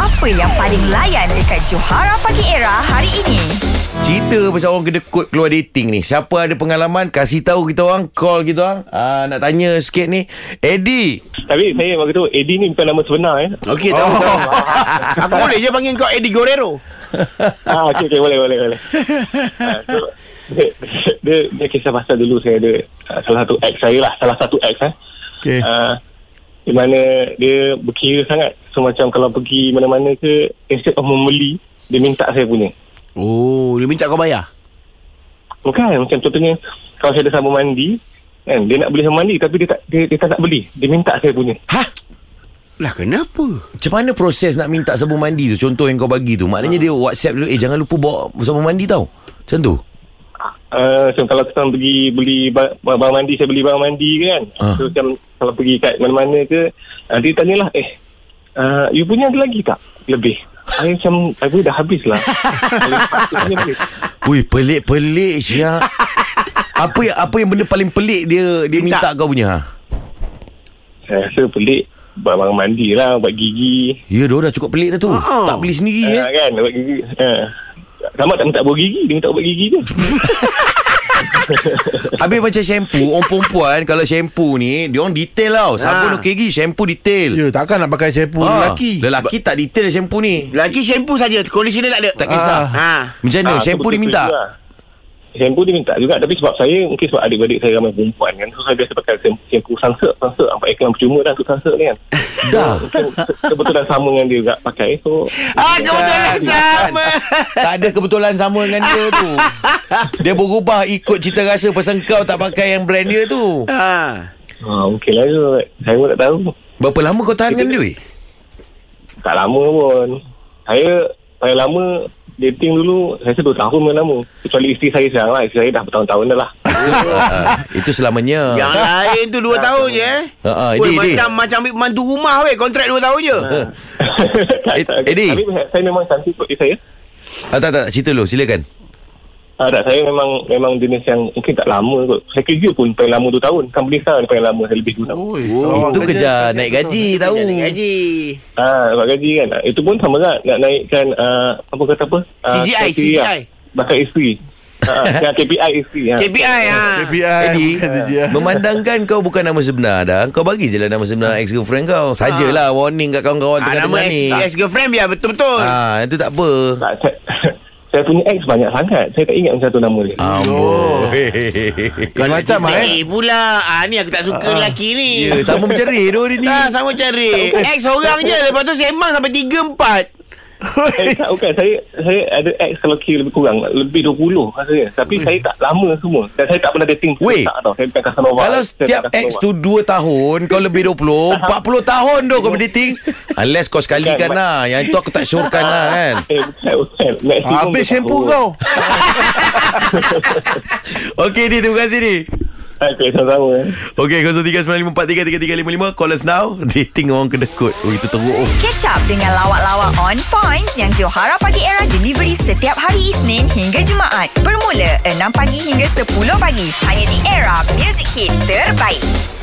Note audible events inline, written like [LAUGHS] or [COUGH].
Apa yang paling layan dekat Johara Pagi Era hari ini? Cerita pasal orang kena kod keluar dating ni. Siapa ada pengalaman kasih tahu kita orang, call kita orang. Ah nak tanya sikit ni. Eddie. Oh. Tapi saya waktu tu Eddie ni bukan nama sebenar [LAUGHS] eh. Okey, tahu, tahu. [LAUGHS] Aku boleh je panggil kau Eddie Guerrero. ah okey okey boleh boleh boleh. Ah, so, dia, dia, dia kisah pasal dulu saya ada ah, salah satu ex saya lah, salah satu ex eh. Okey. Ah, di mana dia berkira sangat. So macam kalau pergi mana-mana ke instead of membeli dia minta saya punya. Oh, dia minta kau bayar. Bukan macam contohnya kalau saya ada sabun mandi kan dia nak beli sabun mandi tapi dia tak dia, dia tak nak beli. Dia minta saya punya. Ha? Lah kenapa? Macam mana proses nak minta sabun mandi tu? Contoh yang kau bagi tu. Maknanya dia WhatsApp dulu. Eh jangan lupa bawa sabun mandi tau. Macam tu. Uh, so kalau kita orang pergi beli ba- barang mandi saya beli barang mandi ke kan Ah. so macam kalau pergi kat mana-mana ke uh, dia tanyalah eh uh, you punya ada lagi tak lebih saya macam saya punya dah habis lah You punya boleh? Ui pelik-pelik [LAUGHS] Syah. apa yang apa yang benda paling pelik dia dia minta, Minta. minta kau punya? Ha? Eh, saya rasa pelik buat barang mandi lah buat gigi Ya, dia dah cukup pelik dah tu. Ha-ha. Tak beli sendiri eh. yeah. uh, kan buat gigi uh. sama tak minta buat gigi dia minta buat gigi je Habis macam shampoo Orang perempuan Kalau shampoo ni Dia orang detail tau Sabun Ha. okey gigi Shampoo detail Ya, takkan nak pakai shampoo Ah, lelaki. Lelaki tak detail shampoo ni Lagi shampoo saja, conditioner tak ada. Tak kisah. Ha. Macam mana Ah, shampoo tu dia betul-betul minta juga. Shampoo dia minta juga Tapi sebab saya Mungkin sebab adik-adik saya ramai perempuan kan So saya biasa pakai shampoo, shampoo sunset Sunset Nampak iklan percuma dan tu sunset ni kan Dah Mungkin Kebetulan sama dengan dia juga pakai So ha, Ah, kebetulan Bukan, sama. Tak ada kebetulan sama dengan dia tu Dia berubah ikut cita rasa Pasal kau tak pakai yang brand dia tu Ha. ha, Mungkin lah kot Saya pun tak tahu Berapa lama kau tahan dengan dia [LAUGHS] weh? Tak lama pun Saya Saya lama Dating dulu Saya rasa 2 tahun memang lama Kecuali isteri saya sekarang lah Isteri saya dah bertahun-tahun dah lah Ah, Itu selamanya Yang lain tu 2 tahun je eh. Ha, ha, Oi, Eddie, Eddie. macam macam ambil mantu rumah weh, kontrak 2 tahun je. Tak, tak. Eddie. Tapi saya memang cantik kot isteri saya ah, Tak tak cerita dulu silakan Ah, tak, saya memang memang jenis yang mungkin tak lama kot. Saya kerja pun paling lama 2 tahun. Company saya paling lama, saya lebih 2 tahun. Oi, Itu kalau- kerja naik gaji tahu Jangan Gaji. Ah, sebab gaji kan. Ah, Itu pun sama lah nak naikkan ah, apa kata apa? Ah, CGI, KPI lah. CGI. Bakal isteri. Ah, ah, KPI isteri. Ha. KPI ha. Jadi KPI. eh, bukan TGI. Memandangkan kau bukan nama sebenar dah Kau bagi je lah nama sebenar ex-girlfriend kau Sajalah warning kat kawan-kawan Ah, nama tengah-tengah ni ex, ex girlfriend biar betul-betul. Ah, itu tak apa Tak, saya, [LAUGHS] saya punya ex banyak sangat. Saya tak ingat macam tu nama dia. Ah. Amboi Kau macam ah, eh. Eh pula ah, Ni aku tak suka lelaki ni Ya, sama macam Ray tu dia ni Tak sama cari Ex orang je Lepas tu sembang sampai 3-4 Eh, tak, bukan. Saya saya ada ex kalau kira lebih kurang. Lebih 20 rasanya. Tapi saya tak lama semua. Dan saya tak pernah dating. Hmm. Weh. Tak tau. Saya bukan Casanova. Kalau Saya setiap bukan ex Casanova. tu 2 tahun Kau lebih 20 40 tahun tu kau berdating Unless kau sekali Bukan, kan Mat. lah Yang itu aku tak syorkan lah kan Eh, bukan, bukan. Maximum Habis dua shampoo tahun. kau. Okey Di terima kasih Di Okay, sama-sama. eh. Okey 0395433355 Call us now Dating orang kedekut Oh itu teruk oh. Catch up dengan lawak-lawak on points yang Johara Pagi Era delivery setiap hari Isnin hingga Jumaat. Bermula 6 pagi hingga 10 pagi. Hanya di Era Music Hit Terbaik.